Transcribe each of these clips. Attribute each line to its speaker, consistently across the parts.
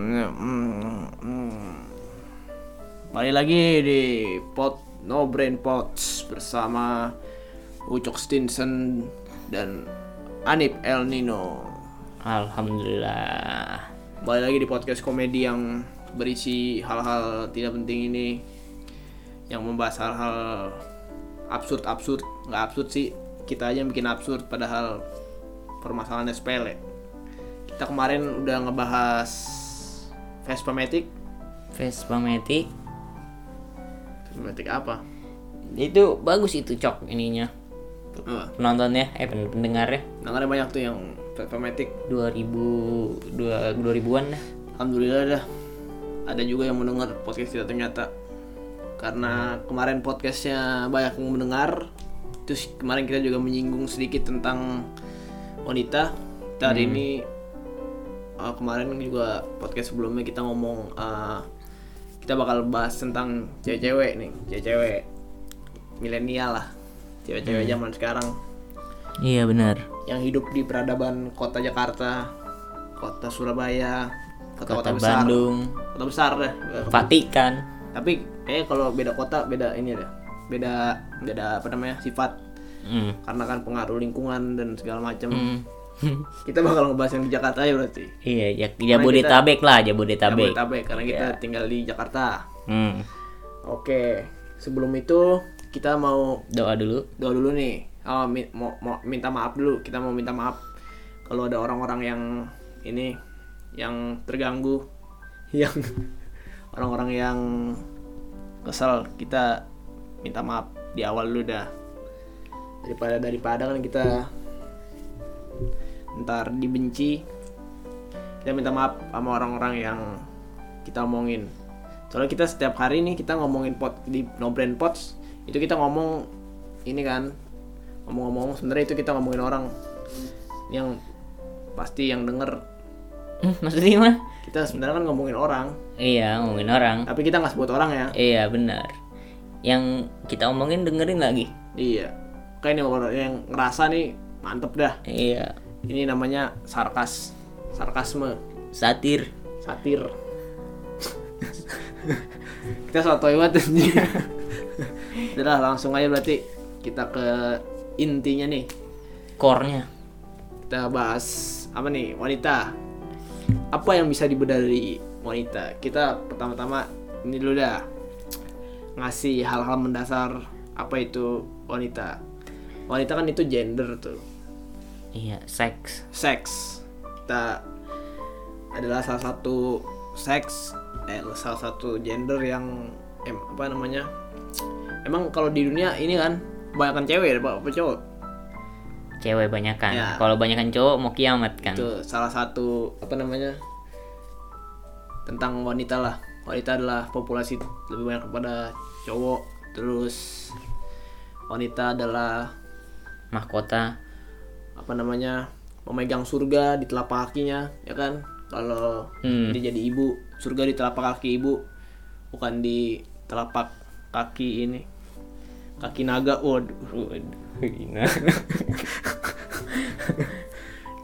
Speaker 1: hmm, hmm. Balik lagi di Pot No Brain Pots bersama Ucok Stinson dan Anip El Nino.
Speaker 2: Alhamdulillah.
Speaker 1: Balik lagi di podcast komedi yang berisi hal-hal tidak penting ini yang membahas hal-hal absurd-absurd nggak absurd sih kita aja yang bikin absurd padahal permasalahannya sepele kita kemarin udah ngebahas Vespa Matic
Speaker 2: Vespa Matic
Speaker 1: Vespa Matic apa?
Speaker 2: itu bagus itu cok ininya
Speaker 1: Eh,
Speaker 2: penontonnya eh pen- pendengarnya
Speaker 1: dengarnya banyak tuh yang Vespa Matic
Speaker 2: 2000 dua- 2000-an dah.
Speaker 1: Alhamdulillah dah Ada juga yang mendengar podcast kita ternyata Karena kemarin podcastnya banyak yang mendengar Terus kemarin kita juga menyinggung sedikit tentang wanita Kita
Speaker 2: Hmm.
Speaker 1: hari ini uh, Kemarin juga podcast sebelumnya kita ngomong uh, Kita bakal bahas tentang cewek-cewek nih Cewek-cewek milenial lah
Speaker 2: Hmm.
Speaker 1: Cewek-cewek zaman sekarang
Speaker 2: Iya benar.
Speaker 1: yang hidup di peradaban kota Jakarta, kota Surabaya,
Speaker 2: Kota
Speaker 1: kota-kota besar,
Speaker 2: Bandung,
Speaker 1: kota besar deh.
Speaker 2: Vatikan.
Speaker 1: Tapi kayaknya kalau beda kota beda ini deh, beda beda apa namanya sifat
Speaker 2: Hmm.
Speaker 1: karena kan pengaruh lingkungan dan segala macam.
Speaker 2: Hmm.
Speaker 1: Kita bakal ngebahas yang di Jakarta ya berarti.
Speaker 2: iya, Jak- Jabodetabek lah, Jabodetabek.
Speaker 1: Jabodetabek karena kita tinggal di Jakarta.
Speaker 2: Hmm.
Speaker 1: Oke, sebelum itu kita mau
Speaker 2: Doa dulu.
Speaker 1: doa dulu nih. Oh, mi- mau, mau minta maaf dulu. Kita mau minta maaf kalau ada orang-orang yang ini yang terganggu, yang orang-orang yang kesel kita minta maaf di awal dulu dah. Daripada daripada kan kita ntar dibenci. Kita minta maaf sama orang-orang yang kita omongin. Soalnya kita setiap hari nih kita ngomongin pot di No Brand Pots itu kita ngomong ini kan ngomong-ngomong sebenarnya itu kita ngomongin orang yang pasti yang denger
Speaker 2: Hmm, maksudnya gimana?
Speaker 1: kita sebenarnya kan ngomongin orang
Speaker 2: Iya, ngomongin orang.
Speaker 1: tapi kita nggak sebut orang ya
Speaker 2: Iya, benar. Yang kita omongin dengerin lagi.
Speaker 1: iya kayak ini orang yang ngerasa nih mantep dah
Speaker 2: Iya.
Speaker 1: ini namanya sarkas sarkasme
Speaker 2: Satir.
Speaker 1: satir kita sotoy banget anjing. Udah lah, langsung aja berarti kita ke intinya nih
Speaker 2: Core-nya.
Speaker 1: kita bahas apa nih wanita apa yang bisa dibedah dari wanita kita pertama-tama ini dulu dah ngasih hal-hal mendasar apa itu wanita wanita kan itu gender tuh
Speaker 2: Iya, seks.
Speaker 1: seks kita adalah salah satu seks eh, salah satu gender yang em, apa namanya emang kalau di dunia ini kan kebanyakan cewek apa apa cowok
Speaker 2: cewek banyak kan
Speaker 1: Ya.
Speaker 2: kalau banyakan cowok mau kiamat kan
Speaker 1: itu salah satu apa namanya tentang wanita lah wanita adalah populasi lebih banyak kepada cowok terus wanita adalah
Speaker 2: mahkota
Speaker 1: apa namanya memegang surga di telapak kakinya ya kan kalau
Speaker 2: Hmm.
Speaker 1: dia jadi ibu surga di telapak kaki ibu bukan di telapak kaki ini kaki naga waduh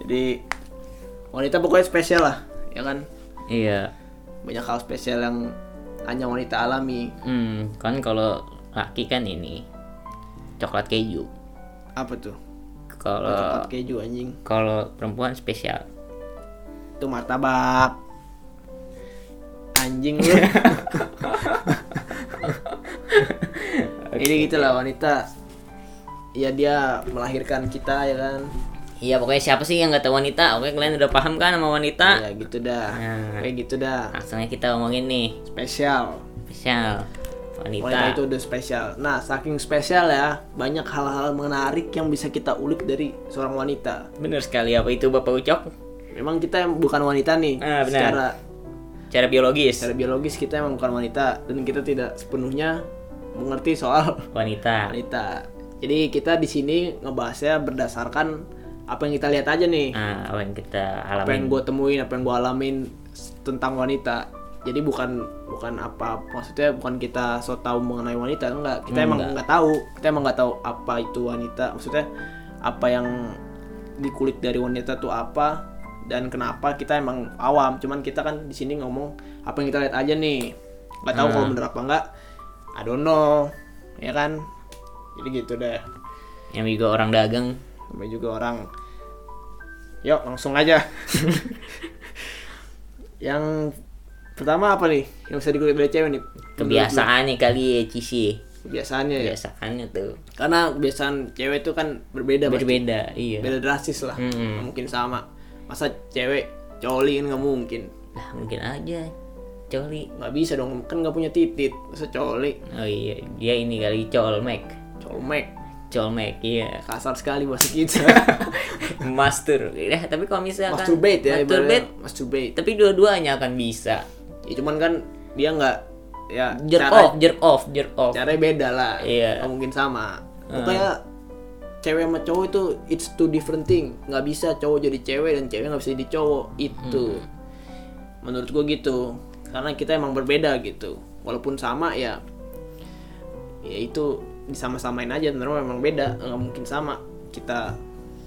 Speaker 1: jadi wanita pokoknya spesial lah ya kan
Speaker 2: iya
Speaker 1: banyak hal spesial yang hanya wanita alami
Speaker 2: hmm, kan kalau laki kan ini coklat keju
Speaker 1: apa tuh
Speaker 2: kalau
Speaker 1: coklat keju anjing
Speaker 2: kalau perempuan spesial
Speaker 1: itu martabak anjing lu jadi gitulah wanita ya dia melahirkan kita ya kan
Speaker 2: iya pokoknya siapa sih yang nggak tahu wanita oke kalian udah paham kan sama wanita
Speaker 1: ya gitu dah
Speaker 2: Nah.
Speaker 1: kayak gitu dah
Speaker 2: langsung aja kita omongin nih
Speaker 1: spesial
Speaker 2: spesial wanita,
Speaker 1: wanita itu udah spesial nah saking spesial ya banyak hal-hal menarik yang bisa kita ulik dari seorang wanita
Speaker 2: bener sekali apa itu bapak ucok
Speaker 1: memang kita yang bukan wanita nih
Speaker 2: Ah, benar.
Speaker 1: secara
Speaker 2: cara biologis
Speaker 1: secara biologis kita emang bukan wanita dan kita tidak sepenuhnya mengerti soal
Speaker 2: wanita
Speaker 1: wanita jadi kita di sini ngebahasnya berdasarkan apa yang kita lihat aja nih
Speaker 2: nah apa yang kita
Speaker 1: apa yang
Speaker 2: alami
Speaker 1: gue temuin apa yang gue alamin s- tentang wanita jadi bukan bukan apa maksudnya bukan kita so tahu mengenai wanita enggak kita emang
Speaker 2: Enggak.
Speaker 1: nggak tahu kita emang nggak tahu apa itu wanita maksudnya apa yang di kulit dari wanita tuh apa dan kenapa kita emang awam cuman kita kan di sini ngomong apa yang kita lihat aja nih nggak tahu kalau bener apa enggak I don't know ya kan jadi gitu deh
Speaker 2: yang juga orang dagang
Speaker 1: namanya juga orang yuk langsung aja yang pertama apa nih yang bisa dikulik dari cewek nih
Speaker 2: kebiasaan nih kali ya Cici
Speaker 1: kebiasaannya
Speaker 2: Iya.
Speaker 1: ya
Speaker 2: kebiasaannya tuh
Speaker 1: karena kebiasaan cewek itu kan berbeda pasti.
Speaker 2: berbeda iya
Speaker 1: beda drastis lah
Speaker 2: Mm-mm.
Speaker 1: Nggak mungkin sama masa cewek coli kan nggak mungkin
Speaker 2: lah mungkin aja coli
Speaker 1: nggak bisa dong kan nggak punya titit masa coli
Speaker 2: oh iya dia ini kali colmek
Speaker 1: colmek
Speaker 2: colmek iya
Speaker 1: kasar sekali bahasa kita
Speaker 2: master eh, tapi kalau misalkan
Speaker 1: masturbate ya
Speaker 2: masturbate,
Speaker 1: ibaratnya. masturbate
Speaker 2: tapi dua-duanya akan bisa
Speaker 1: ya cuman kan dia nggak ya
Speaker 2: jerk
Speaker 1: cara-
Speaker 2: off jerk off jerk off
Speaker 1: caranya beda lah
Speaker 2: Iya. Ah.
Speaker 1: nggak mungkin sama pokoknya cewek sama cowok itu it's two different thing nggak bisa cowok jadi cewek dan cewek nggak bisa jadi cowok itu
Speaker 2: Hmm.
Speaker 1: menurut gua gitu karena kita emang berbeda gitu walaupun sama ya ya itu disama-samain aja sebenarnya memang beda nggak mungkin sama kita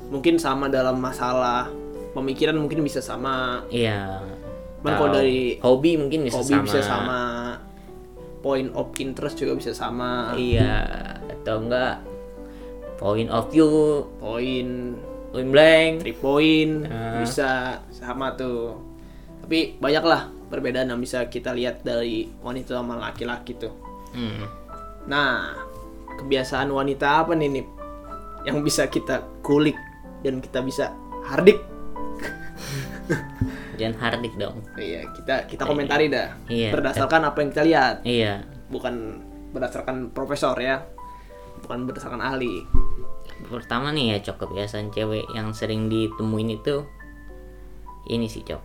Speaker 1: mungkin sama dalam masalah pemikiran mungkin bisa sama
Speaker 2: iya
Speaker 1: Cuman kalau
Speaker 2: Atau
Speaker 1: dari
Speaker 2: hobi mungkin bisa
Speaker 1: hobi
Speaker 2: sama
Speaker 1: bisa sama point of interest juga bisa sama
Speaker 2: iya atau enggak point of view
Speaker 1: poin
Speaker 2: point blank
Speaker 1: three point bisa sama tuh tapi banyak lah perbedaan yang bisa kita lihat dari wanita sama laki-laki tuh
Speaker 2: Hmm.
Speaker 1: nah kebiasaan wanita apa nih Nip? yang bisa kita kulik dan kita bisa hardik
Speaker 2: jangan hardik dong
Speaker 1: iya kita kita komentari dah
Speaker 2: Iya.
Speaker 1: berdasarkan apa yang kita lihat
Speaker 2: iya
Speaker 1: bukan berdasarkan profesor ya bukan berdasarkan ahli
Speaker 2: pertama nih ya cok kebiasaan cewek yang sering ditemuin itu ini sih cok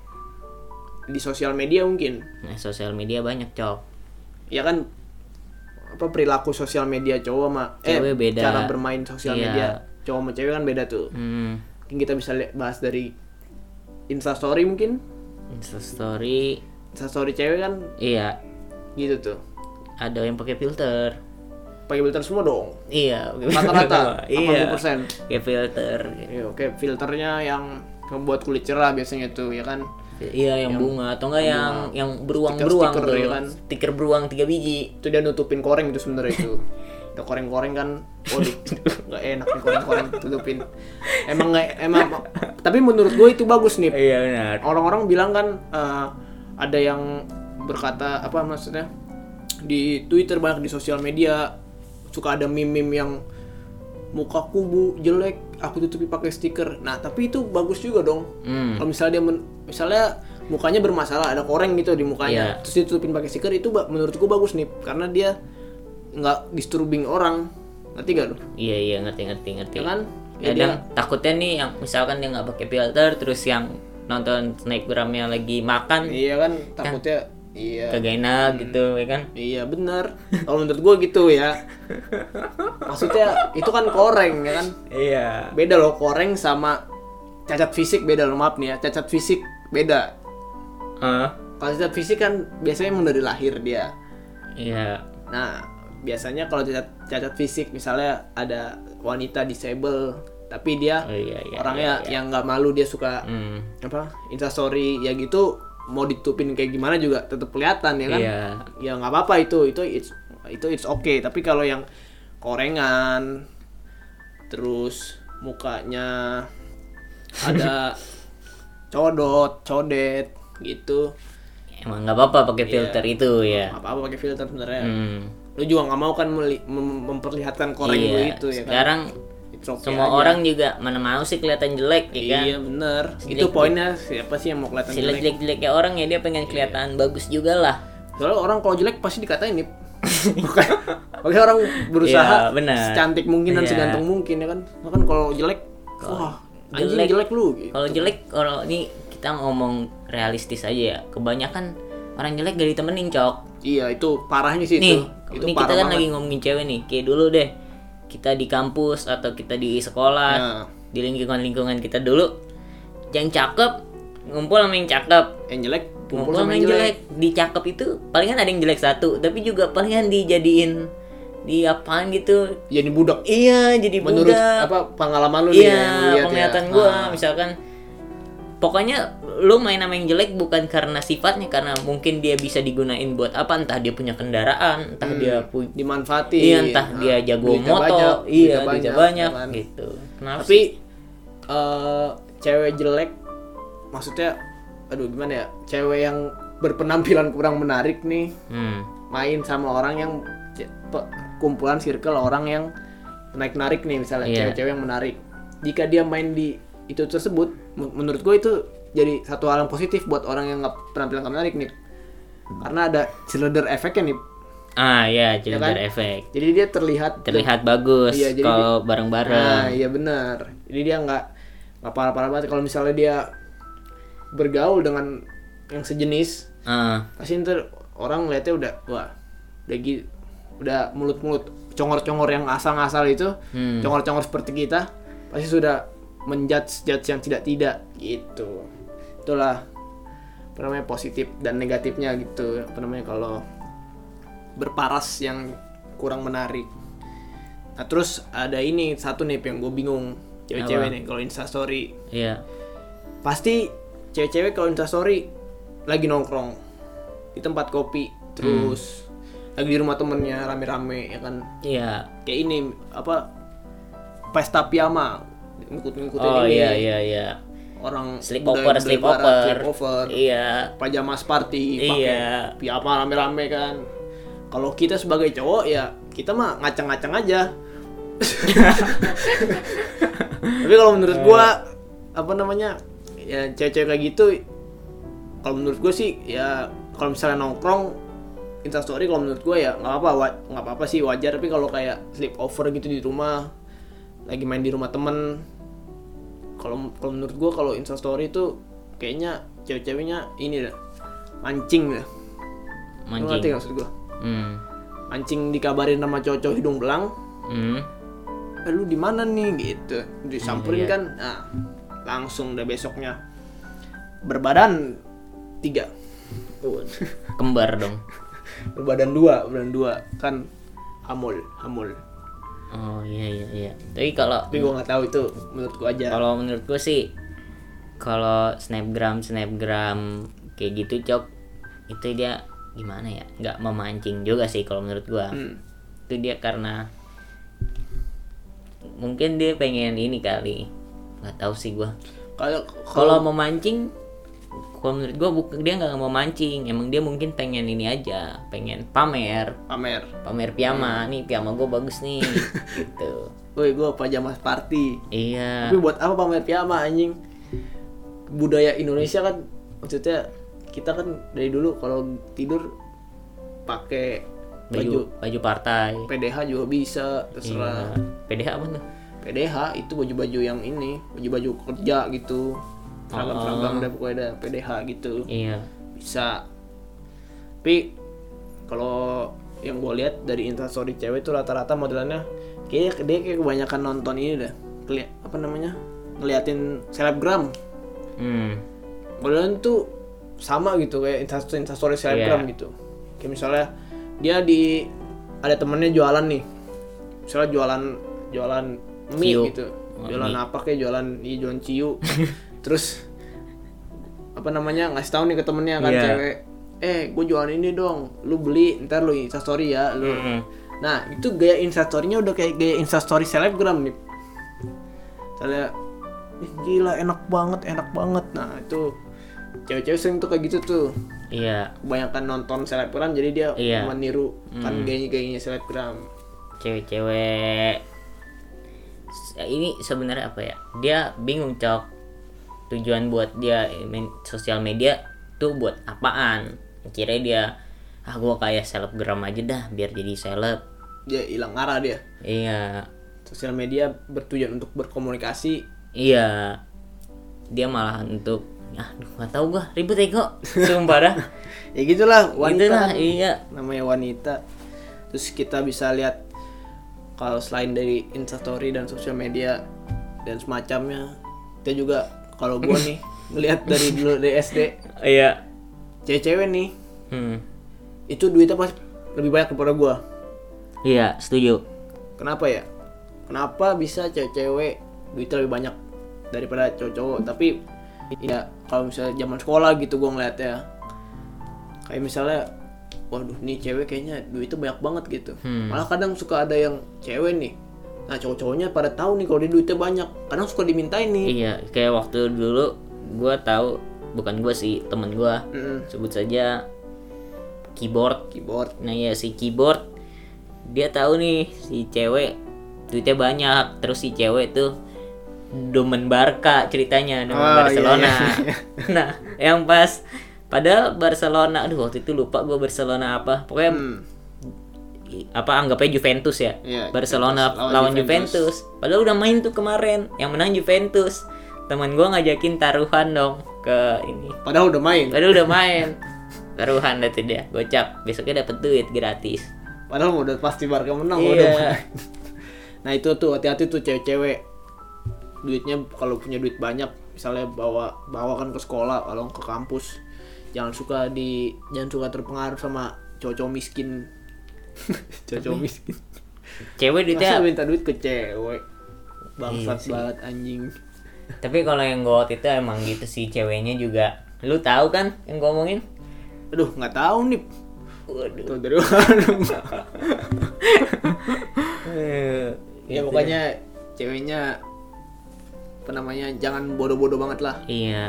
Speaker 1: di sosial media mungkin
Speaker 2: nah sosial media banyak cok
Speaker 1: ya kan apa perilaku sosial media cowok sama eh,
Speaker 2: Cewek beda.
Speaker 1: cara bermain sosial
Speaker 2: Iya.
Speaker 1: media cowok sama cewek kan beda tuh
Speaker 2: hmm.
Speaker 1: mungkin kita bisa li- bahas dari instastory mungkin
Speaker 2: instastory
Speaker 1: instastory cewek kan
Speaker 2: iya
Speaker 1: gitu tuh
Speaker 2: ada yang pakai filter
Speaker 1: pakai filter semua dong
Speaker 2: iya pakai filter semua.
Speaker 1: rata-rata
Speaker 2: iya
Speaker 1: 80%
Speaker 2: pakai filter
Speaker 1: Ya, oke filternya yang membuat kulit cerah biasanya tuh ya kan
Speaker 2: iya yang, bunga atau enggak yang yang beruang beruang
Speaker 1: Stiker-stiker,
Speaker 2: tuh
Speaker 1: ya kan?
Speaker 2: stiker beruang tiga biji
Speaker 1: itu dia nutupin koreng itu sebenarnya itu udah koreng-koreng kan waduh nggak enak nih koreng-koreng tutupin emang nggak emang tapi menurut gue itu bagus nih
Speaker 2: iya benar
Speaker 1: orang-orang bilang kan eh, ada yang berkata apa maksudnya di Twitter banyak di sosial media suka ada meme-meme yang muka kubu jelek aku tutupi pakai stiker nah tapi itu bagus juga dong
Speaker 2: hmm.
Speaker 1: kalau misalnya dia men- misalnya mukanya bermasalah ada koreng gitu di mukanya
Speaker 2: Iya.
Speaker 1: terus ditutupin pakai stiker itu ba- menurut gua bagus nih karena dia nggak disturbing orang ngerti gak lu
Speaker 2: iya iya ngerti ngerti ngerti
Speaker 1: ya kan Ya
Speaker 2: kadang takutnya nih yang misalkan dia nggak pakai filter terus yang nonton snapgramnya lagi
Speaker 1: dia-
Speaker 2: makan
Speaker 1: iya kan takutnya iya
Speaker 2: kagak enak gitu ya kan
Speaker 1: Iya benar. Kalau menurut gue gitu ya. Maksudnya itu kan koreng ya kan.
Speaker 2: iya
Speaker 1: Beda loh koreng sama cacat fisik beda loh maaf nih ya. Cacat fisik beda. Kalau cacat fisik kan biasanya emang dari lahir dia.
Speaker 2: iya
Speaker 1: Nah biasanya kalau cacat, cacat fisik misalnya ada wanita disable tapi dia
Speaker 2: oh iya iya
Speaker 1: orangnya yang nggak malu dia suka
Speaker 2: Hmm.
Speaker 1: apa instastory ya gitu mau ditutupin kayak gimana juga tetap kelihatan ya kan.
Speaker 2: iya
Speaker 1: ya nggak apa-apa itu itu it's itu it's okay tapi kalau yang korengan terus mukanya ada codot codet gitu
Speaker 2: emang nggak apa-apa
Speaker 1: Iya.
Speaker 2: pakai filter itu ya
Speaker 1: apa-apa pakai filter sebenarnya
Speaker 2: hmm.
Speaker 1: lu juga nggak mau kan meli- mem- memperlihatkan koreng lu
Speaker 2: iya
Speaker 1: itu ya kan
Speaker 2: sekarang
Speaker 1: It's okay
Speaker 2: semua
Speaker 1: aja.
Speaker 2: orang juga mana mau sih kelihatan jelek ya kan
Speaker 1: iya bener itu poinnya siapa sih yang mau kelihatan
Speaker 2: jelek
Speaker 1: jelek Iya.
Speaker 2: jelek jeleknya orang ya dia pengen kelihatan bagus juga lah
Speaker 1: soalnya orang kalau jelek pasti dikatain nih Bukan. Makanya orang berusaha
Speaker 2: Iya, benar.
Speaker 1: secantik mungkin dan
Speaker 2: Iya.
Speaker 1: seganteng mungkin ya kan. Nah, kan kalau jelek, wah anjing jelek,
Speaker 2: jelek-
Speaker 1: lu. gitu.
Speaker 2: kalau jelek kalau ini kita ngomong realistis aja ya kebanyakan orang jelek gak ditemenin cok
Speaker 1: Iya itu parahnya sih
Speaker 2: nih
Speaker 1: itu. Itu
Speaker 2: ini kita
Speaker 1: parah
Speaker 2: kan
Speaker 1: banget.
Speaker 2: lagi ngomongin cewek nih kayak dulu deh kita di kampus atau kita di sekolah
Speaker 1: Nah,
Speaker 2: di lingkungan lingkungan kita dulu yang cakep ngumpul sama yang cakep
Speaker 1: yang jelek kumpul
Speaker 2: ngumpul
Speaker 1: sama yang jelek.
Speaker 2: di cakep itu palingan ada yang jelek satu tapi juga palingan dijadiin di apaan gitu
Speaker 1: Jadi budak.
Speaker 2: iya jadi
Speaker 1: Menurut
Speaker 2: budak
Speaker 1: apa pengalaman lu nih
Speaker 2: iya
Speaker 1: yang lu lihat ya?
Speaker 2: penglihatan gua
Speaker 1: Nah,
Speaker 2: misalkan pokoknya lu main sama yang jelek bukan karena sifatnya karena mungkin dia bisa digunain buat apa entah dia punya kendaraan
Speaker 1: Hmm.
Speaker 2: entah dia punya
Speaker 1: dimanfaati
Speaker 2: iya entah dia jago
Speaker 1: duitnya ah, banyak,
Speaker 2: motor
Speaker 1: duitnya
Speaker 2: iya duitnya
Speaker 1: banyak,
Speaker 2: banyak,
Speaker 1: ya kan?
Speaker 2: gitu kenapa
Speaker 1: tapi
Speaker 2: sih?
Speaker 1: eh, cewek jelek maksudnya aduh gimana ya cewek yang berpenampilan kurang menarik nih
Speaker 2: hmm.
Speaker 1: main sama orang yang ce- pe- kumpulan circle orang yang naik narik nih misalnya
Speaker 2: Iya.
Speaker 1: cewek-cewek yang menarik jika dia main di itu tersebut men- menurut gue itu jadi satu hal yang positif buat orang yang nggak penampilan nggak menarik nih karena ada cylinder efeknya nih
Speaker 2: ah ya
Speaker 1: kan?
Speaker 2: cheerleader efek
Speaker 1: jadi dia terlihat
Speaker 2: terlihat bagus
Speaker 1: Iya, jadi
Speaker 2: kalau
Speaker 1: Nah,
Speaker 2: bareng-bareng
Speaker 1: iya benar. Jadi dia nggak nggak parah-parah banget. Kalau misalnya dia bergaul dengan yang sejenis,
Speaker 2: Ah,
Speaker 1: pasti ntar orang lihatnya udah wah, udah gi- udah mulut-mulut congor-congor yang asal-asal itu,
Speaker 2: Hmm.
Speaker 1: congor-congor seperti kita, pasti sudah menjudge judge yang tidak-tidak gitu. Itulah apa namanya positif dan negatifnya gitu. Apa namanya kalau berparas yang kurang menarik. Nah terus ada ini satu nih yang gue bingung cewek-cewek
Speaker 2: Apa?
Speaker 1: nih kalau instastory
Speaker 2: iya
Speaker 1: pasti cewek-cewek kalau instastory lagi nongkrong di tempat kopi terus
Speaker 2: Hmm.
Speaker 1: lagi di rumah temennya rame-rame ya kan
Speaker 2: iya
Speaker 1: kayak ini apa pesta piyama ngikut-ngikutin
Speaker 2: oh
Speaker 1: ini
Speaker 2: iya iya iya
Speaker 1: orang
Speaker 2: sleepover
Speaker 1: budaya- budaya barat,
Speaker 2: sleepover
Speaker 1: sleepover
Speaker 2: iya
Speaker 1: pajamas party pakai
Speaker 2: Iya.
Speaker 1: piyama rame-rame kan kalau kita sebagai cowok ya kita mah ngacang-ngacang aja tapi kalau menurut gua apa namanya ya cewek-cewek kayak gitu kalau menurut gua sih ya kalau misalnya nongkrong instastory kalau menurut gua ya nggak apa nggak apa apa sih wajar tapi kalau kayak sleepover gitu di rumah lagi main di rumah temen kalau kalau menurut gua kalau instastory itu kayaknya cewek-ceweknya ini dah mancing dah Lu ngerti
Speaker 2: mancing
Speaker 1: nggak maksud gua
Speaker 2: hmm.
Speaker 1: mancing dikabarin sama cowok hidung belang
Speaker 2: Hmm.
Speaker 1: eh, lu di mana nih gitu disamperin
Speaker 2: Iya.
Speaker 1: kan nah, langsung deh besoknya berbadan tiga
Speaker 2: kembar dong
Speaker 1: berbadan dua berbadan dua kan hamul hamul
Speaker 2: oh iya iya iya tapi kalau
Speaker 1: tapi gua nggak tahu itu menurut gua aja
Speaker 2: kalau menurut gue sih kalau snapgram snapgram kayak gitu cok itu dia gimana ya nggak memancing juga sih kalau menurut gua
Speaker 1: Hmm.
Speaker 2: itu dia karena mungkin dia pengen ini kali nggak tahu sih gua
Speaker 1: kalau
Speaker 2: kalau memancing kalau menurut gua bukan dia nggak mau mancing emang dia mungkin pengen ini aja pengen pamer
Speaker 1: pamer
Speaker 2: pamer piyama nih piyama gue bagus nih gitu
Speaker 1: woi gua pajamas party
Speaker 2: iya
Speaker 1: tapi buat apa pamer piyama anjing budaya Indonesia kan maksudnya kita kan dari dulu kalau tidur pakai
Speaker 2: baju
Speaker 1: baju
Speaker 2: baju partai
Speaker 1: PDH juga bisa terserah
Speaker 2: Iya. PDH apa tuh?
Speaker 1: PDH itu baju-baju yang ini baju-baju kerja gitu seragam-seragam udah pokoknya ada PDH gitu
Speaker 2: Ah. Iya.
Speaker 1: bisa tapi kalau yang gue lihat dari instastory cewek itu rata-rata modelannya kayak dia kayak kebanyakan nonton ini dah Keli- apa namanya ngeliatin selebgram
Speaker 2: Hmm.
Speaker 1: modelan tuh sama gitu kayak instastory instastory selebgram
Speaker 2: Iya.
Speaker 1: gitu kayak misalnya dia di ada temennya jualan nih misalnya jualan jualan mie
Speaker 2: Ciu.
Speaker 1: gitu
Speaker 2: Oh,
Speaker 1: jualan
Speaker 2: mie.
Speaker 1: apa kayak jualan iya, jualan ciu terus apa namanya ngasih tahu nih ke temennya kan
Speaker 2: Iya.
Speaker 1: cewek eh gue jualan ini dong lu beli ntar lu instastory ya lu
Speaker 2: Mm-mm.
Speaker 1: nah itu gaya instastorynya udah kayak gaya instastory selebgram nih misalnya "Ih, gila enak banget enak banget nah itu cewek-cewek sering tuh kayak gitu tuh
Speaker 2: Iya.
Speaker 1: kebanyakan nonton selebgram jadi dia
Speaker 2: Iya.
Speaker 1: meniru kan gayanya gayanya selebgram
Speaker 2: Cewek-cewek. S- Ini sebenarnya apa ya? Dia bingung cok. Tujuan buat dia main sosial media tuh buat apaan? Kira dia ah gua kayak selebgram aja dah biar jadi seleb.
Speaker 1: dia hilang arah dia
Speaker 2: Iya.
Speaker 1: sosial media bertujuan untuk berkomunikasi
Speaker 2: Iya. Dia malah untuk ah nggak tahu gua ribet ego sumpah dah
Speaker 1: ya gitulah wanita
Speaker 2: Itulah,
Speaker 1: kan
Speaker 2: iya
Speaker 1: namanya wanita terus kita bisa lihat kalau selain dari instastory dan sosial media dan semacamnya kita juga kalau gua nih ngelihat dari dulu dari SD
Speaker 2: iya
Speaker 1: cewek-cewek nih
Speaker 2: hmm.
Speaker 1: itu duitnya pas lebih banyak daripada gua
Speaker 2: iya setuju
Speaker 1: kenapa ya kenapa bisa cewek-cewek duitnya lebih banyak daripada cowok-cowok tapi ya kalau misalnya zaman sekolah gitu gue ngeliat ya kayak misalnya waduh nih cewek kayaknya duitnya banyak banget gitu
Speaker 2: Hmm.
Speaker 1: malah kadang suka ada yang cewek nih nah cowok-cowoknya pada tahu nih kalau dia duitnya banyak kadang suka dimintain nih
Speaker 2: Iya, kayak waktu dulu gua tahu bukan gua sih, temen gua
Speaker 1: Mm-mm.
Speaker 2: sebut saja keyboard.
Speaker 1: keyboard
Speaker 2: Nah, ya si keyboard dia tahu nih si cewek duitnya banyak, terus si cewek tuh domen Barca ceritanya, domen
Speaker 1: Oh,
Speaker 2: Barcelona.
Speaker 1: iya, iya,
Speaker 2: nah, yang pas padahal Barcelona, aduh waktu itu lupa gua Barcelona apa. Pokoknya
Speaker 1: Hmm.
Speaker 2: i- apa anggapnya Juventus ya.
Speaker 1: Iya,
Speaker 2: Barcelona
Speaker 1: Juventus lawan
Speaker 2: lawan
Speaker 1: Juventus.
Speaker 2: Juventus. Padahal udah main tuh kemarin, yang menang Juventus. Temen gua ngajakin taruhan dong ke ini.
Speaker 1: padahal udah main
Speaker 2: Padahal udah main. taruhan dah tuh dia, gocap. Besoknya dapet duit gratis.
Speaker 1: padahal udah pasti Barca menang
Speaker 2: Iya.
Speaker 1: udah main. nah itu tuh hati-hati tuh cewek-cewek duitnya kalau punya duit banyak misalnya bawa bawakan ke sekolah kalau ke kampus jangan suka di jangan suka terpengaruh sama cowok miskin cowok miskin masa
Speaker 2: Cewek duitnya. Iya
Speaker 1: minta duit ke cewek bangsat banget anjing
Speaker 2: Tapi kalau yang gue itu emang gitu sih ceweknya juga. Lu tahu kan yang gua omongin?
Speaker 1: aduh nggak tahu nih
Speaker 2: Waduh. Iya
Speaker 1: tuh dari mana
Speaker 2: Eh,
Speaker 1: ya
Speaker 2: gitu
Speaker 1: pokoknya ceweknya apa namanya jangan bodoh-bodoh banget lah
Speaker 2: deh. Iya.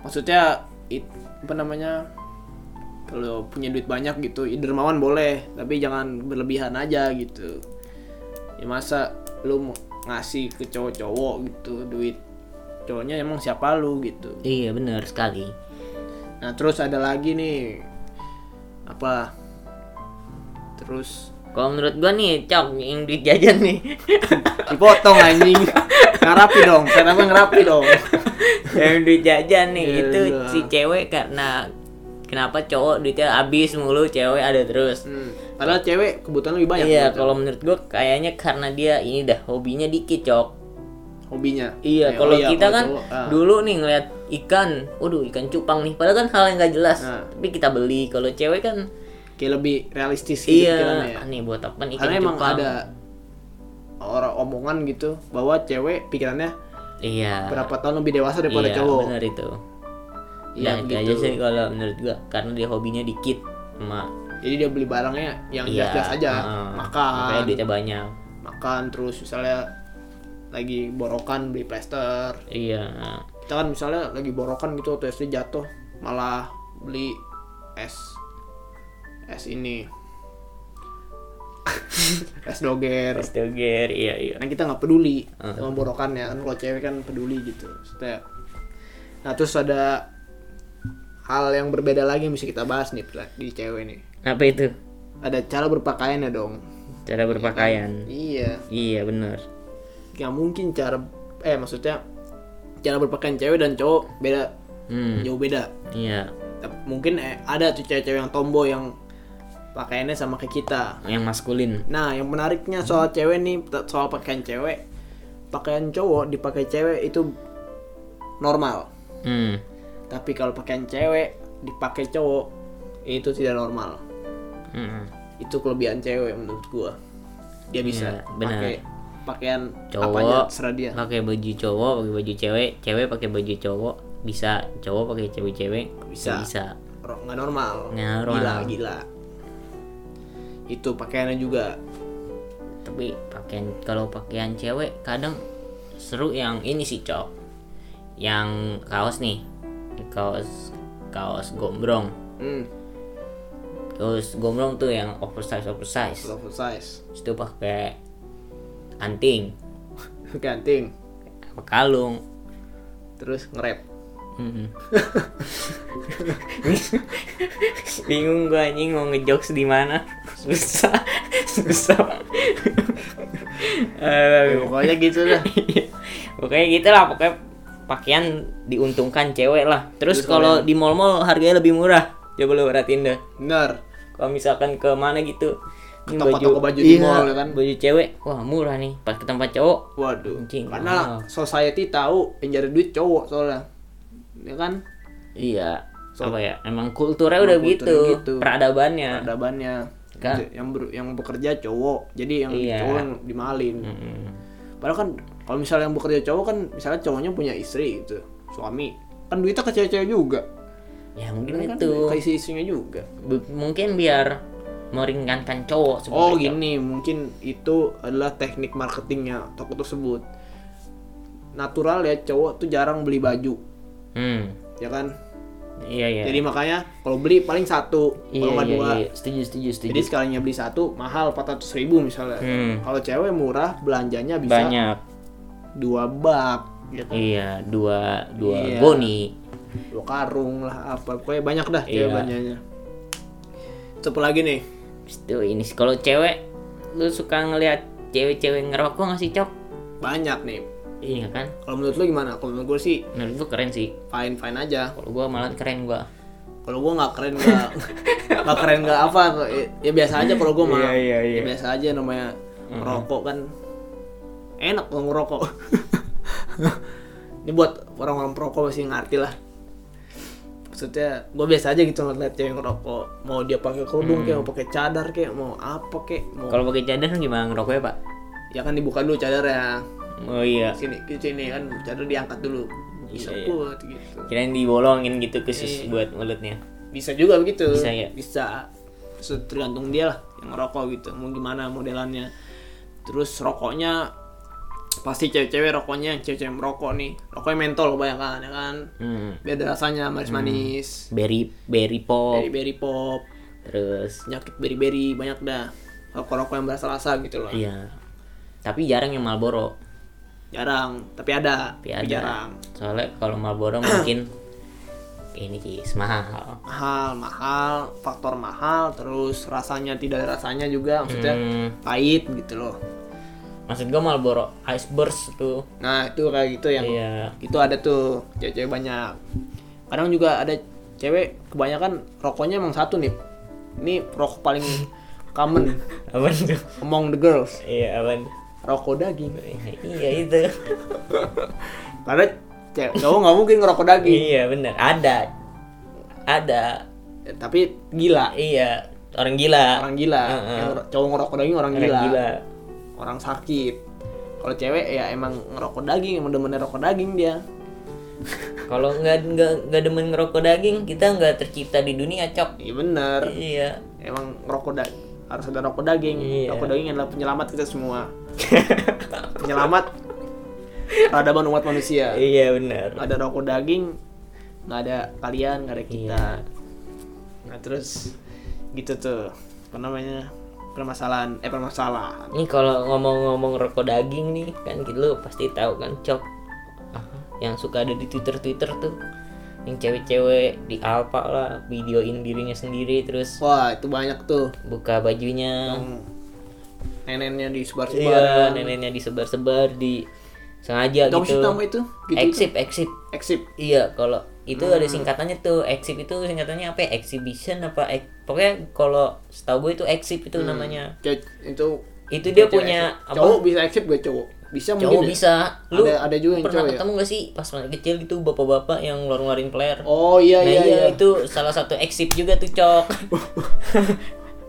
Speaker 1: maksudnya it, apa namanya kalau punya duit banyak gitu ya dermawan boleh tapi jangan berlebihan aja gitu ya masa lu mau ngasih ke cowok-cowok gitu duit cowoknya emang siapa lu gitu
Speaker 2: Iya benar sekali.
Speaker 1: nah terus ada lagi nih apa terus
Speaker 2: Kalau menurut gua nih, cok yang duit jajan nih.
Speaker 1: dipotong anjing ngerapi dong kenapa ngerapi dong
Speaker 2: yang duit jajan nih
Speaker 1: Iya,
Speaker 2: itu
Speaker 1: iya.
Speaker 2: si cewek karena kenapa cowok duitnya habis mulu cewek ada terus
Speaker 1: Hmm, padahal cewek kebutuhan lebih banyak
Speaker 2: iya
Speaker 1: gitu.
Speaker 2: kalau menurut gua kayaknya karena dia ini dah hobinya dikit cok
Speaker 1: hobinya Ya,
Speaker 2: iya kalau
Speaker 1: oh
Speaker 2: kita
Speaker 1: kalau
Speaker 2: kan
Speaker 1: cowok, ah.
Speaker 2: dulu nih ngeliat ikan waduh ikan cupang nih padahal kan hal yang gak jelas
Speaker 1: Nah.
Speaker 2: tapi kita beli kalau cewek kan
Speaker 1: kayak lebih realistis gitu pikirannya
Speaker 2: iya kan.
Speaker 1: ya.
Speaker 2: nih buat apa nih ikan
Speaker 1: karena emang
Speaker 2: cupang
Speaker 1: ada orang omongan gitu bahwa cewek pikirannya
Speaker 2: iya
Speaker 1: berapa tahun lebih dewasa daripada
Speaker 2: iya,
Speaker 1: cowok
Speaker 2: benar itu
Speaker 1: Iya,
Speaker 2: nah itu aja
Speaker 1: gitu.
Speaker 2: sih kalau menurut gua karena dia hobinya dikit emak
Speaker 1: jadi dia beli barangnya yang jelas-jelas aja
Speaker 2: Iya, ah, makanya
Speaker 1: makan
Speaker 2: duitnya banyak
Speaker 1: makan terus misalnya lagi borokan beli plester
Speaker 2: iya
Speaker 1: kita kan misalnya lagi borokan gitu waktu SD jatuh malah beli es es ini es doger
Speaker 2: Stoger, iya iya
Speaker 1: karena kita nggak peduli
Speaker 2: Heeh.
Speaker 1: sama borokannya kan kalau cewek kan peduli gitu Maksudnya- nah terus ada hal yang berbeda lagi yang bisa kita bahas nih Pla, di cewek nih
Speaker 2: apa itu
Speaker 1: ada cara berpakaiannya dong
Speaker 2: cara berpakaian
Speaker 1: iya
Speaker 2: iya benar
Speaker 1: nggak mungkin cara eh maksudnya cara berpakaian cewek dan cowok beda
Speaker 2: hmm
Speaker 1: jauh beda
Speaker 2: iya
Speaker 1: Tep- mungkin eh, ada tuh cewek-cewek yang tomboy yang pakaiannya sama kayak kita
Speaker 2: yang maskulin
Speaker 1: Nah, yang menariknya soal cewek nih, t- soal pakaian cewek, pakaian cowok dipakai cewek itu normal.
Speaker 2: hmm
Speaker 1: Tapi kalau pakaian cewek dipakai cowok itu tidak normal.
Speaker 2: Mm-mm.
Speaker 1: Itu kelebihan cewek menurut gua. Dia bisa
Speaker 2: Iya, benar.
Speaker 1: pakai pakaian apanya
Speaker 2: cowok
Speaker 1: terserah dia.
Speaker 2: pakai baju cowok pakai baju cewek cewek pakai baju cowok bisa cowok pakai cewek cewek
Speaker 1: Bisa.
Speaker 2: nggak bisa
Speaker 1: Ro- Nggak normal.
Speaker 2: Nggak normal.
Speaker 1: Gila, gila. Itu pakaiannya juga.
Speaker 2: tapi pakaian kalau pakaian cewek kadang seru yang ini sih cok yang kaos nih kaos kaos gombrong
Speaker 1: Hmm,
Speaker 2: kaos gombrong tuh yang oversize oversize
Speaker 1: full of size.
Speaker 2: Terus itu pakai anting
Speaker 1: Ganting.
Speaker 2: apa kalung
Speaker 1: Terus nge-rap.
Speaker 2: Mm-mm. bingung gua anjing mau ngejokes di mana susah susah
Speaker 1: Ya,
Speaker 2: Eh,
Speaker 1: pokoknya gitu dah.
Speaker 2: pokoknya gitu lah pokoknya pakaian diuntungkan cewek lah terus kalau di mall-mall harganya lebih murah coba lu perhatiin deh
Speaker 1: Bener.
Speaker 2: kalau misalkan ke mana gitu
Speaker 1: Ke
Speaker 2: ini
Speaker 1: toko-toko baju di
Speaker 2: Iya,
Speaker 1: mall, ya kan?
Speaker 2: baju cewek wah murah nih pas ke tempat cowok
Speaker 1: Waduh,
Speaker 2: Anjing, Ah. mahal.
Speaker 1: karena society tahu yang jadi duit cowok soalnya, ya kan?
Speaker 2: Iya. apa ya? Emang kulturnya udah gitu,
Speaker 1: kulturnya gitu.
Speaker 2: peradabannya.
Speaker 1: Peradabannya,
Speaker 2: Ya. Kan?
Speaker 1: yang ber- yang bekerja cowok, jadi yang
Speaker 2: Iya. Hmm.
Speaker 1: cowok yang dimalin.
Speaker 2: Mm-mm.
Speaker 1: Padahal kan kalau misalnya yang bekerja cowok kan, misalnya cowoknya punya istri gitu, suami, kan duitnya ke cewek-cewek juga
Speaker 2: ya mungkin
Speaker 1: kan
Speaker 2: itu
Speaker 1: ke isi-isinya juga
Speaker 2: B- mungkin biar meringankan cowok
Speaker 1: Oh
Speaker 2: sebenarnya.
Speaker 1: gini, mungkin itu adalah teknik marketingnya toko tersebut. Natural ya cowok tuh jarang beli baju,
Speaker 2: hmm
Speaker 1: ya kan?
Speaker 2: iya iya
Speaker 1: Jadi makanya kalau beli paling satu,
Speaker 2: iya,
Speaker 1: kalau nggak
Speaker 2: iya,
Speaker 1: dua.
Speaker 2: iya. setuju setuju setuju
Speaker 1: Jadi sekalinya beli satu mahal 400 ribu misalnya.
Speaker 2: Hmm.
Speaker 1: Kalau cewek murah belanjanya bisa
Speaker 2: banyak
Speaker 1: dua bak, ya kan?
Speaker 2: iya dua dua
Speaker 1: Iya.
Speaker 2: goni
Speaker 1: dua karung lah apa, pokoknya banyak dah
Speaker 2: Iya.
Speaker 1: cewek belanjanya. Itu apa lagi nih?
Speaker 2: itu ini kalau cewek lu suka ngelihat cewek-cewek ngerokok nggak sih cok
Speaker 1: Banyak nih.
Speaker 2: iya kan
Speaker 1: Kalau menurut lu gimana? Kalau menurut gue sih
Speaker 2: menurut gua keren sih
Speaker 1: fine fine aja.
Speaker 2: kalau gua malah keren gua
Speaker 1: kalau gue nggak keren nggak nggak keren nggak apa ya biasa aja kalau gue mah
Speaker 2: Iya, iya, iya.
Speaker 1: Ya biasa aja namanya ngerokok kan enak kalau ngerokok ini buat orang-orang perokok masih ngerti lah maksudnya gue biasa aja gitu ngeliat cewek ngerokok mau dia pakai kerudung kayak mau pakai cadar kayak mau apa kayak mau
Speaker 2: kalau pakai cadar gimana ngerokoknya pak
Speaker 1: ya kan dibuka dulu cadarnya
Speaker 2: oh iya
Speaker 1: sini ke sini kan cadar diangkat dulu bisa
Speaker 2: Iya, iya.
Speaker 1: buat gitu
Speaker 2: kirain dibolongin gitu khusus
Speaker 1: Iya.
Speaker 2: buat mulutnya
Speaker 1: bisa juga begitu
Speaker 2: Bisa ya?
Speaker 1: bisa Terus tergantung dia lah yang ngerokok gitu mau gimana modelannya terus rokoknya pasti cewek-cewek rokoknya yang cewek-cewek merokok nih rokoknya mentol kebanyakan ya kan
Speaker 2: hmm.
Speaker 1: beda rasanya manis-manis
Speaker 2: berry berry Hmm. pop
Speaker 1: berry berry pop
Speaker 2: terus
Speaker 1: penyakit berry berry banyak dah rokok-rokok yang berasa-rasa gitu loh
Speaker 2: iya tapi jarang yang Marlboro
Speaker 1: jarang tapi ada
Speaker 2: tapi ada
Speaker 1: jarang
Speaker 2: soalnya kalau Marlboro mungkin ini sih mahal
Speaker 1: mahal mahal faktor mahal terus rasanya tidak ada rasanya juga maksudnya
Speaker 2: hmm.
Speaker 1: pahit gitu loh
Speaker 2: maksud gua Marlboro Ice Burst tuh
Speaker 1: nah itu kayak gitu yang
Speaker 2: iya
Speaker 1: itu ada tuh cewek-cewek banyak kadang juga ada cewek kebanyakan rokoknya emang satu nih ini rokok paling common
Speaker 2: apa tuh
Speaker 1: among the girls
Speaker 2: iya apa
Speaker 1: rokok daging
Speaker 2: iya itu
Speaker 1: karena cewek cowok nggak mungkin ngerokok daging
Speaker 2: iya bener ada ada
Speaker 1: Eh, tapi gila
Speaker 2: iya orang gila
Speaker 1: orang gila
Speaker 2: Heeh.
Speaker 1: Yang ro- cowok ngerokok daging orang
Speaker 2: Orang
Speaker 1: gila, orang sakit kalau cewek ya emang ngerokok daging emang demennya rokok daging dia
Speaker 2: kalau nggak nggak nggak demen ngerokok daging kita nggak tercipta di dunia cok
Speaker 1: iya bener
Speaker 2: iya
Speaker 1: emang rokok da- harus ada rokok daging
Speaker 2: Iya.
Speaker 1: rokok daging adalah penyelamat kita semua penyelamat peradaban umat manusia
Speaker 2: iya bener
Speaker 1: nggak ada rokok daging nggak ada kalian nggak ada
Speaker 2: Iya.
Speaker 1: kita nah terus gitu tuh apa namanya permasalahan eh permasalahan
Speaker 2: Ini kalau ngomong-ngomong rokok daging nih kan gitu lu pasti tahu kan cok Ah, yang suka ada di Twitter Twitter tuh yang cewek-cewek di Alfa lah videoin dirinya sendiri terus
Speaker 1: wah itu banyak tuh
Speaker 2: buka bajunya
Speaker 1: yang Hmm. neneknya di sebar
Speaker 2: iya
Speaker 1: sebar
Speaker 2: neneknya disebar-sebar di sengaja
Speaker 1: Tahu sih
Speaker 2: gitu
Speaker 1: nama itu gitu
Speaker 2: exit exit
Speaker 1: eksip
Speaker 2: iya kalau itu ada singkatannya tuh exit itu singkatannya apa ya? exhibition apa ex- pokoknya kalau setahu gue itu exit itu namanya
Speaker 1: itu
Speaker 2: Iya. itu dia
Speaker 1: cewek
Speaker 2: punya
Speaker 1: exit.
Speaker 2: apa
Speaker 1: cowok bisa eksip gak cowok bisa
Speaker 2: cowok
Speaker 1: mungkin ya?
Speaker 2: bisa lu
Speaker 1: ada ada juga yang
Speaker 2: pernah
Speaker 1: cowok ya?
Speaker 2: ketemu gak sih pas masih kecil gitu bapak-bapak yang ngeluarin player
Speaker 1: Oh iya
Speaker 2: nah
Speaker 1: iya iya.
Speaker 2: itu salah satu exit juga tuh cok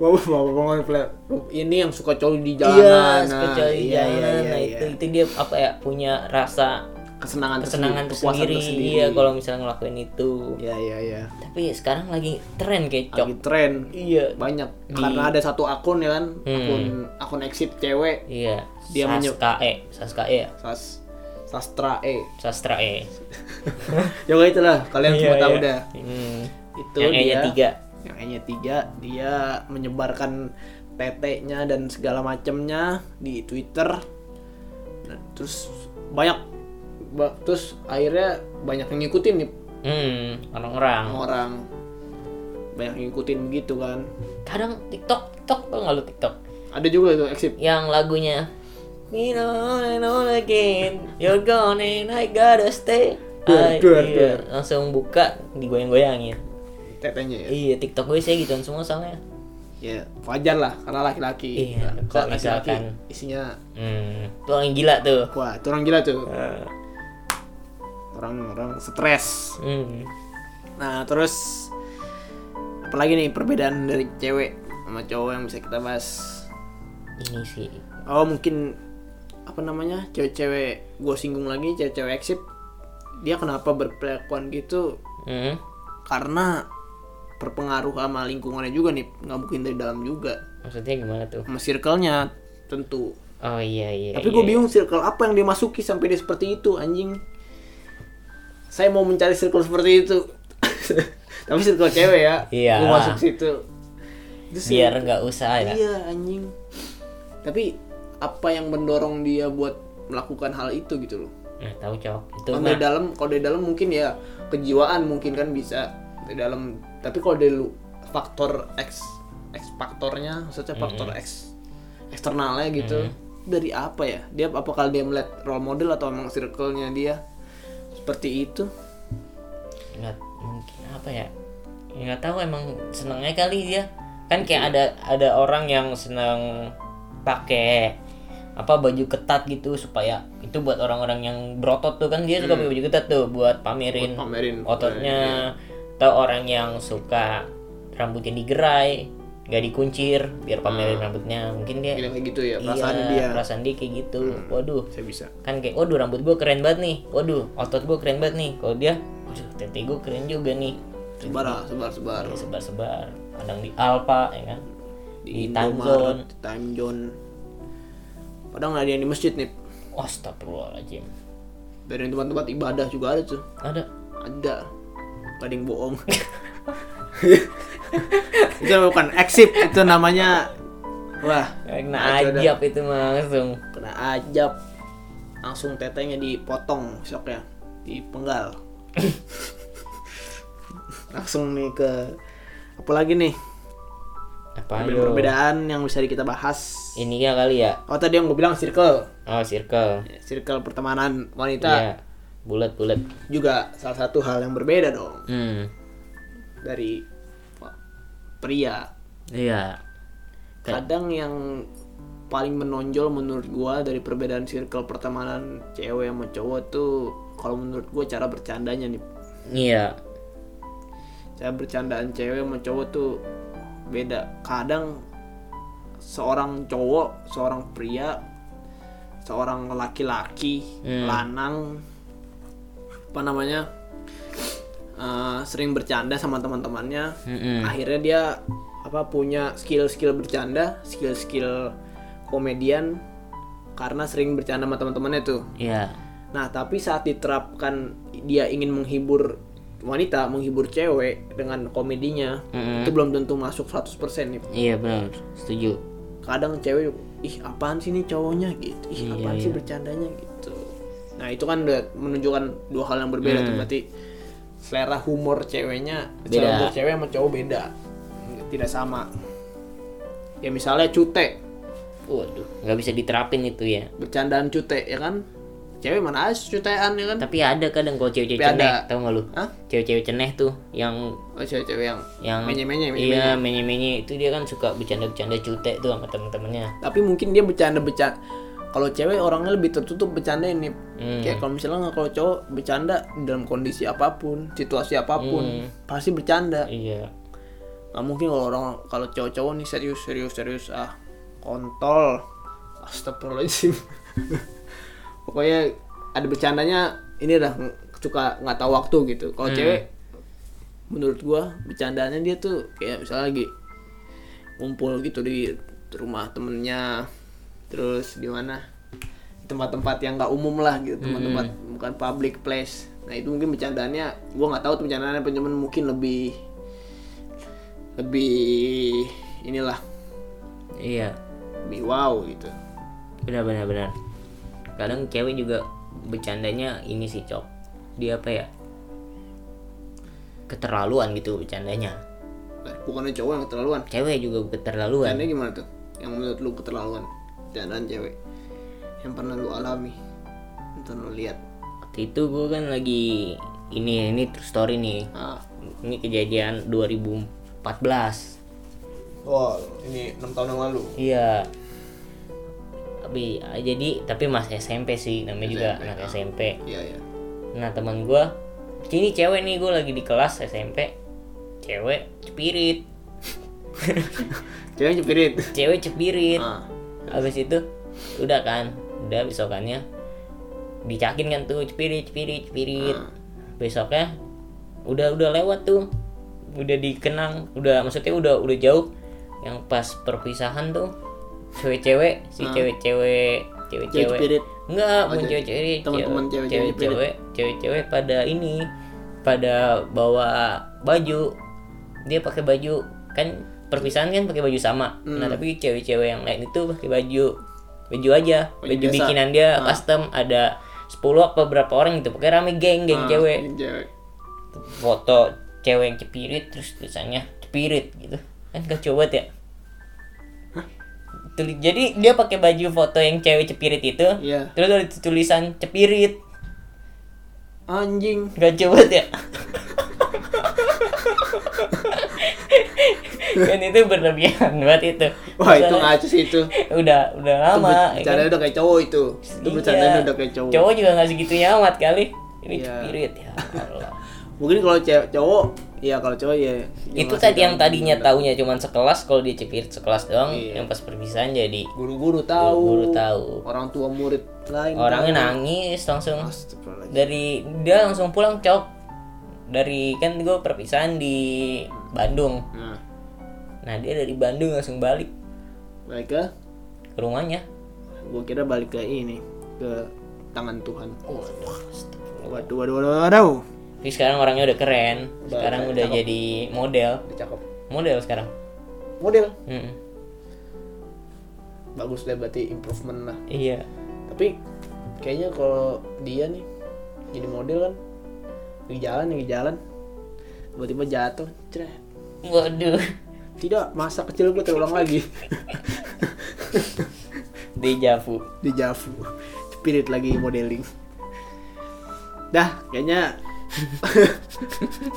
Speaker 1: Wow, wow, wow, wow, flat. Ini yang suka coli di
Speaker 2: iya
Speaker 1: jalanan.
Speaker 2: sepeda di
Speaker 1: Iya,
Speaker 2: jalanan
Speaker 1: iya,
Speaker 2: nah
Speaker 1: iya.
Speaker 2: itu itu dia apa ya punya rasa
Speaker 1: kesenangan
Speaker 2: kesenangan
Speaker 1: kepuasan
Speaker 2: tersendiri, iya kalau misalnya ngelakuin itu
Speaker 1: Iya iya iya.
Speaker 2: tapi ya sekarang lagi tren kayak cok
Speaker 1: Lagi tren
Speaker 2: iya
Speaker 1: banyak karena ada satu akun ya kan, akun akun exit cewek
Speaker 2: Hmm. iya
Speaker 1: Dia menyu-
Speaker 2: Saska E Saska E ya?
Speaker 1: Sas, sastra E.
Speaker 2: Sastra E
Speaker 1: ya kayak itulah kalian semua tahu dah.
Speaker 2: Hmm.
Speaker 1: Itu
Speaker 2: Iya, yang E nya
Speaker 1: dia.
Speaker 2: tiga
Speaker 1: Yang E-nya tiga, dia menyebarkan PT-nya dan segala macamnya di Twitter. Nah, terus banyak ba- terus akhirnya banyak yang ngikutin nih
Speaker 2: hmm orang-orang
Speaker 1: orang banyak yang ngikutin begitu kan
Speaker 2: kadang TikTok TikTok tau nggak lu TikTok
Speaker 1: ada juga itu exit
Speaker 2: yang lagunya You know and all again You're gone and I gotta stay
Speaker 1: Duar,
Speaker 2: I-
Speaker 1: duar,
Speaker 2: iya,
Speaker 1: duar.
Speaker 2: langsung buka digoyang-goyangin
Speaker 1: tetenya ya
Speaker 2: iya TikTok gue sih gitu semua soalnya
Speaker 1: ya wajar lah karena laki-laki
Speaker 2: Iya,
Speaker 1: Nah, kalau
Speaker 2: kalau
Speaker 1: laki-laki
Speaker 2: misalkan-
Speaker 1: isinya
Speaker 2: hmm, tuh orang gila tuh
Speaker 1: wah itu orang gila tuh orang orang stres
Speaker 2: hmm.
Speaker 1: nah terus apalagi nih perbedaan dari cewek sama cowok yang bisa kita bahas
Speaker 2: ini sih
Speaker 1: oh mungkin apa namanya cewek-cewek gue singgung lagi cewek-cewek exit dia kenapa berperilakuan gitu
Speaker 2: Hmm.
Speaker 1: karena berpengaruh sama lingkungannya juga nih nggak mungkin dari dalam juga
Speaker 2: Maksudnya gimana tuh?
Speaker 1: sama circle-nya tentu
Speaker 2: Oh iya iya.
Speaker 1: tapi
Speaker 2: iya.
Speaker 1: gue bingung circle apa yang dia masuki sampai dia seperti itu anjing saya mau mencari circle seperti itu tapi circle cewek ya
Speaker 2: Iya.
Speaker 1: gue masuk situ Terus
Speaker 2: biar nggak usah ya.
Speaker 1: iya anjing tapi apa yang mendorong dia buat melakukan hal itu gitu loh
Speaker 2: Nggak tahu cok. Itu
Speaker 1: kalau
Speaker 2: mah
Speaker 1: dari dalam kalau dari dalam mungkin ya kejiwaan mungkin kan bisa dari dalam tapi kalau dari lu- faktor X X faktornya maksudnya
Speaker 2: Hmm.
Speaker 1: faktor X eksternalnya gitu dari apa ya dia apakah dia melihat role model atau emang circle-nya dia seperti itu
Speaker 2: nggak mungkin apa ya? Nggak tahu emang senengnya kali dia. Kan kayak ada ada orang yang senang pakai apa baju ketat gitu supaya itu buat orang-orang yang berotot tuh kan dia suka
Speaker 1: Hmm.
Speaker 2: pakai baju ketat tuh buat pamerin
Speaker 1: pamerin Iya,
Speaker 2: ototnya atau orang yang suka rambutnya digerai nggak dikuncir biar pamerin rambutnya mungkin dia
Speaker 1: Ah. Gila kayak gitu ya perasaan
Speaker 2: iya,
Speaker 1: dia Hmm.
Speaker 2: perasaan dia kayak gitu waduh
Speaker 1: saya bisa
Speaker 2: kan kayak waduh rambut gue keren banget nih waduh otot gue keren banget nih kalau dia waduh tete gue keren juga nih
Speaker 1: sebar ah, sebar sebar
Speaker 2: Dia sebar-sebar kadang di Alfa ya kan Iya. di, time
Speaker 1: Indomaret,
Speaker 2: zone
Speaker 1: time zone padahal nggak ada yang di masjid nih
Speaker 2: astagfirullahaladzim
Speaker 1: dari tempat-tempat ibadah juga ada tuh
Speaker 2: ada
Speaker 1: ada Gak ada yang bohong itu bukan eksip itu namanya wah
Speaker 2: kena
Speaker 1: Eh, Ada, ada.
Speaker 2: ajab Nah, itu mah langsung
Speaker 1: kena ajab langsung tetenya dipotong besoknya dipenggal langsung nih ke apalagi nih
Speaker 2: apa yo?
Speaker 1: perbedaan yang bisa kita bahas
Speaker 2: ini ya kali ya
Speaker 1: oh tadi yang gue bilang circle
Speaker 2: oh circle
Speaker 1: circle pertemanan wanita
Speaker 2: Iya, bulat-bulat.
Speaker 1: juga salah satu hal yang berbeda dong
Speaker 2: Hmm.
Speaker 1: dari wah, pria
Speaker 2: Iya. Kayak-
Speaker 1: kadang yang paling menonjol menurut gua dari perbedaan circle pertemanan cewek sama cowok tuh kalau menurut gua cara bercandanya nih
Speaker 2: Iya.
Speaker 1: cara bercandaan cewek sama cowok tuh beda kadang seorang cowok seorang pria seorang laki-laki
Speaker 2: Hmm.
Speaker 1: lanang apa namanya eh, sering bercanda sama teman-temannya
Speaker 2: Mm-mm.
Speaker 1: akhirnya dia apa punya skill-skill bercanda, skill-skill komedian karena sering bercanda sama teman-temannya tuh.
Speaker 2: Iya.
Speaker 1: Nah, tapi saat diterapkan dia ingin menghibur wanita, menghibur cewek dengan komedinya,
Speaker 2: Mm-mm.
Speaker 1: itu belum tentu masuk 100% nih.
Speaker 2: Iya benar. Setuju.
Speaker 1: Kadang cewek ih apaan sih nih cowoknya gitu. Ih
Speaker 2: Iya,
Speaker 1: apaan
Speaker 2: iya.
Speaker 1: sih bercandanya gitu. Nah, itu kan udah menunjukkan dua hal yang berbeda tuh
Speaker 2: Hmm.
Speaker 1: berarti selera humor ceweknya,
Speaker 2: Beda.
Speaker 1: selera humor cewek sama cowok beda. Tidak sama. Ya misalnya cute,
Speaker 2: Waduh, nggak bisa diterapin itu ya.
Speaker 1: bercandaan cute ya kan? Cewek mana ada cutean ya kan?
Speaker 2: Tapi ada kadang kalau cewek-cewek
Speaker 1: Tapi
Speaker 2: ceneh,
Speaker 1: ada.
Speaker 2: tau nggak lu?
Speaker 1: Hah?
Speaker 2: Cewek-cewek ceneh tuh yang
Speaker 1: Oh, cewek-cewek yang
Speaker 2: yang
Speaker 1: Menye-menye, menye-menye.
Speaker 2: Iya, menye-menye itu dia kan suka bercanda-bercanda cute tuh sama temen-temennya.
Speaker 1: tapi mungkin dia bercanda bercanda kalau cewek orangnya lebih tertutup bercanda ini
Speaker 2: Hmm.
Speaker 1: kayak kalau misalnya nggak- kalau cowok bercanda dalam kondisi apapun situasi apapun pasti bercanda
Speaker 2: Iya.
Speaker 1: nggak mungkin kalau orang kalau cowok-cowok nih serius serius serius ah kontol astagfirullahaladzim pokoknya ada bercandanya ini udah ng- suka nggak tahu waktu gitu kalau cewek menurut gua bercandanya dia tuh kayak misalnya lagi ngumpul gitu di rumah temennya terus di mana Di tempat-tempat yang nggak umum lah gitu tempat-tempat bukan public place nah itu mungkin bercandaannya gua nggak tahu tuh bercandaannya apa, cuman mungkin lebih lebih inilah
Speaker 2: Iya.
Speaker 1: lebih wow gitu
Speaker 2: Benar benar benar. Kadang cewek juga bercandanya ini sih, Cok. Dia apa ya? Keterlaluan gitu bercandanya.
Speaker 1: Lah, bukannya cowok yang keterlaluan
Speaker 2: cewek juga keterlaluan
Speaker 1: Bercandanya gimana tuh yang menurut lu keterlaluan bercandaan cewek yang pernah lu alami yang pernah lu lihat
Speaker 2: waktu itu gue kan lagi ini ini true story nih
Speaker 1: ah
Speaker 2: ini kejadian 2014
Speaker 1: oh ini enam tahun yang lalu
Speaker 2: iya tapi ah, jadi tapi masih SMP sih namanya juga anak SMP
Speaker 1: iya iya
Speaker 2: nah teman gue ini cewek nih gue lagi di kelas SMP cewek cepirit
Speaker 1: cewek cepirit
Speaker 2: cewek cepirit
Speaker 1: ah
Speaker 2: habis itu udah kan udah besokannya dicakin kan tuh cepirit cepirit cepirit
Speaker 1: Ah.
Speaker 2: besoknya udah udah lewat tuh udah dikenang udah maksudnya udah udah jauh yang pas perpisahan tuh cewek-cewek si cewek-cewek
Speaker 1: Ah. Cewek
Speaker 2: cewek-cewek
Speaker 1: cepirit.
Speaker 2: Enggak,
Speaker 1: Oh,
Speaker 2: bukan
Speaker 1: jadi
Speaker 2: cewek-cewek,
Speaker 1: teman-teman
Speaker 2: cewek-
Speaker 1: cewek-cewek Jepit.
Speaker 2: cewek-cewek, cewek-cewek pada ini, pada bawa baju, dia pakai baju kan perpisahan kan pakai baju sama.
Speaker 1: Hmm.
Speaker 2: Nah tapi cewek-cewek yang lain itu pakai baju baju aja,
Speaker 1: Baju biasa.
Speaker 2: baju,
Speaker 1: Ah.
Speaker 2: bikinan dia custom ada 10 apa berapa orang gitu, pakai rame geng geng
Speaker 1: Ah,
Speaker 2: cewek,
Speaker 1: yang cewek.
Speaker 2: foto cewek yang cepirit terus tulisannya cepirit gitu, kan kacau banget ya. Tuli- Jadi dia pakai baju foto yang cewek cepirit itu,
Speaker 1: Iya.
Speaker 2: Terus ada tulisan cepirit.
Speaker 1: Anjing.
Speaker 2: Gak coba ya. kan itu berlebihan buat itu.
Speaker 1: Wah, itu
Speaker 2: Misalnya,
Speaker 1: ngaco sih itu.
Speaker 2: udah udah lama. ya
Speaker 1: Bercanda
Speaker 2: kan?
Speaker 1: udah kayak cowok itu. Itu
Speaker 2: Iya.
Speaker 1: bercandanya udah kayak cowok.
Speaker 2: Cowok juga gak segitunya amat kali. Ini
Speaker 1: Iya.
Speaker 2: cepirit ya Allah.
Speaker 1: Mungkin kalau cewek cowok, ya kalau cowok ya.
Speaker 2: itu
Speaker 1: jangan
Speaker 2: tadi yang
Speaker 1: sekali.
Speaker 2: tadinya taunya cuman sekelas kalau dia cepirit sekelas doang
Speaker 1: Iya.
Speaker 2: yang pas perpisahan jadi
Speaker 1: guru-guru tahu.
Speaker 2: Guru-guru tahu.
Speaker 1: Orang tua murid lain.
Speaker 2: orangnya
Speaker 1: tahu.
Speaker 2: nangis langsung
Speaker 1: Astagfirullahaladzim.
Speaker 2: dari dia langsung pulang cok dari kan gue perpisahan di Bandung
Speaker 1: Nah,
Speaker 2: Nah dia dari Bandung langsung balik
Speaker 1: balik ke
Speaker 2: ke rumahnya.
Speaker 1: ya. gua kira balik ke ini ke tangan Tuhan.
Speaker 2: Waduh.
Speaker 1: Waduh, waduh, waduh, waduh.
Speaker 2: Tapi sekarang orangnya udah keren. Sekarang
Speaker 1: Udah,
Speaker 2: udah
Speaker 1: cakep.
Speaker 2: jadi model.
Speaker 1: Udah cakep.
Speaker 2: Model sekarang.
Speaker 1: Model
Speaker 2: Mm-mm.
Speaker 1: bagus deh berarti improvement lah.
Speaker 2: Iya.
Speaker 1: Tapi kayaknya kalau dia nih jadi model kan di jalan di jalan tiba-tiba jatuh cerah
Speaker 2: Waduh.
Speaker 1: tidak masa kecil gue terulang lagi
Speaker 2: Dejavu.
Speaker 1: di Javu spirit lagi modeling dah kayaknya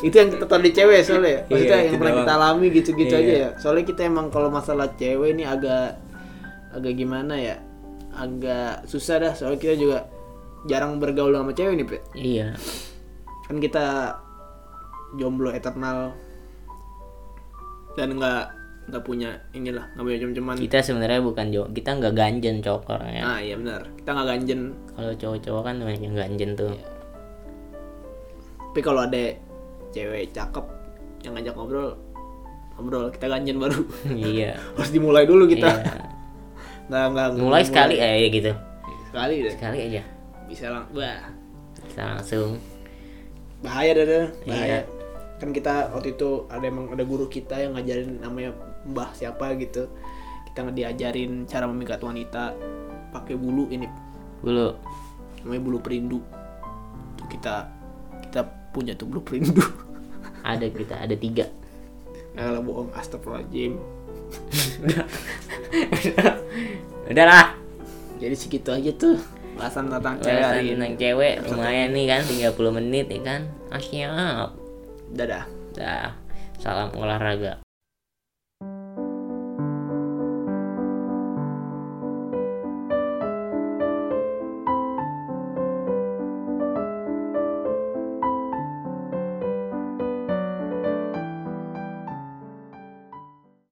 Speaker 1: itu yang kita tahu di cewek soalnya maksudnya
Speaker 2: Iya,
Speaker 1: yang
Speaker 2: itu
Speaker 1: pernah kita
Speaker 2: doang.
Speaker 1: alami gitu-gitu
Speaker 2: Iya.
Speaker 1: aja ya soalnya kita emang kalau masalah cewek ini agak agak gimana ya agak susah dah soalnya kita juga jarang bergaul sama cewek nih Pe.
Speaker 2: Iya.
Speaker 1: kan kita jomblo eternal dan nggak nggak punya inilah nggak punya cem-ceman
Speaker 2: Kita ya. sebenarnya bukan jo kita nggak ganjen cok orangnya.
Speaker 1: ah iya benar kita nggak ganjen
Speaker 2: Kalau cowok-cowok kan banyak yang ganjen tuh.
Speaker 1: tapi kalau ada cewek cakep yang ngajak ngobrol ngobrol kita ganjen baru
Speaker 2: iya.
Speaker 1: harus dimulai dulu kita
Speaker 2: Iya.
Speaker 1: nggak nggak
Speaker 2: Mulai sekali aja gitu.
Speaker 1: sekali deh
Speaker 2: Sekali aja.
Speaker 1: bisa lang wah
Speaker 2: Kita langsung.
Speaker 1: bahaya deh deh.
Speaker 2: Iya.
Speaker 1: bahaya kan kita waktu itu ada emang ada guru kita yang ngajarin namanya mbah siapa gitu kita diajarin cara memikat wanita pakai bulu ini
Speaker 2: Bulu.
Speaker 1: namanya bulu perindu tuh kita kita punya tuh bulu perindu
Speaker 2: Ada kita ada tiga.
Speaker 1: nggak lah bohong astagfirullahaladzim
Speaker 2: Udahlah.
Speaker 1: jadi segitu aja tuh bahasan tentang cewek
Speaker 2: Bahasan
Speaker 1: hari
Speaker 2: tentang
Speaker 1: ini
Speaker 2: cewek lumayan nih kan 30 menit ya kan ah, siap
Speaker 1: dadah
Speaker 2: dah salam olahraga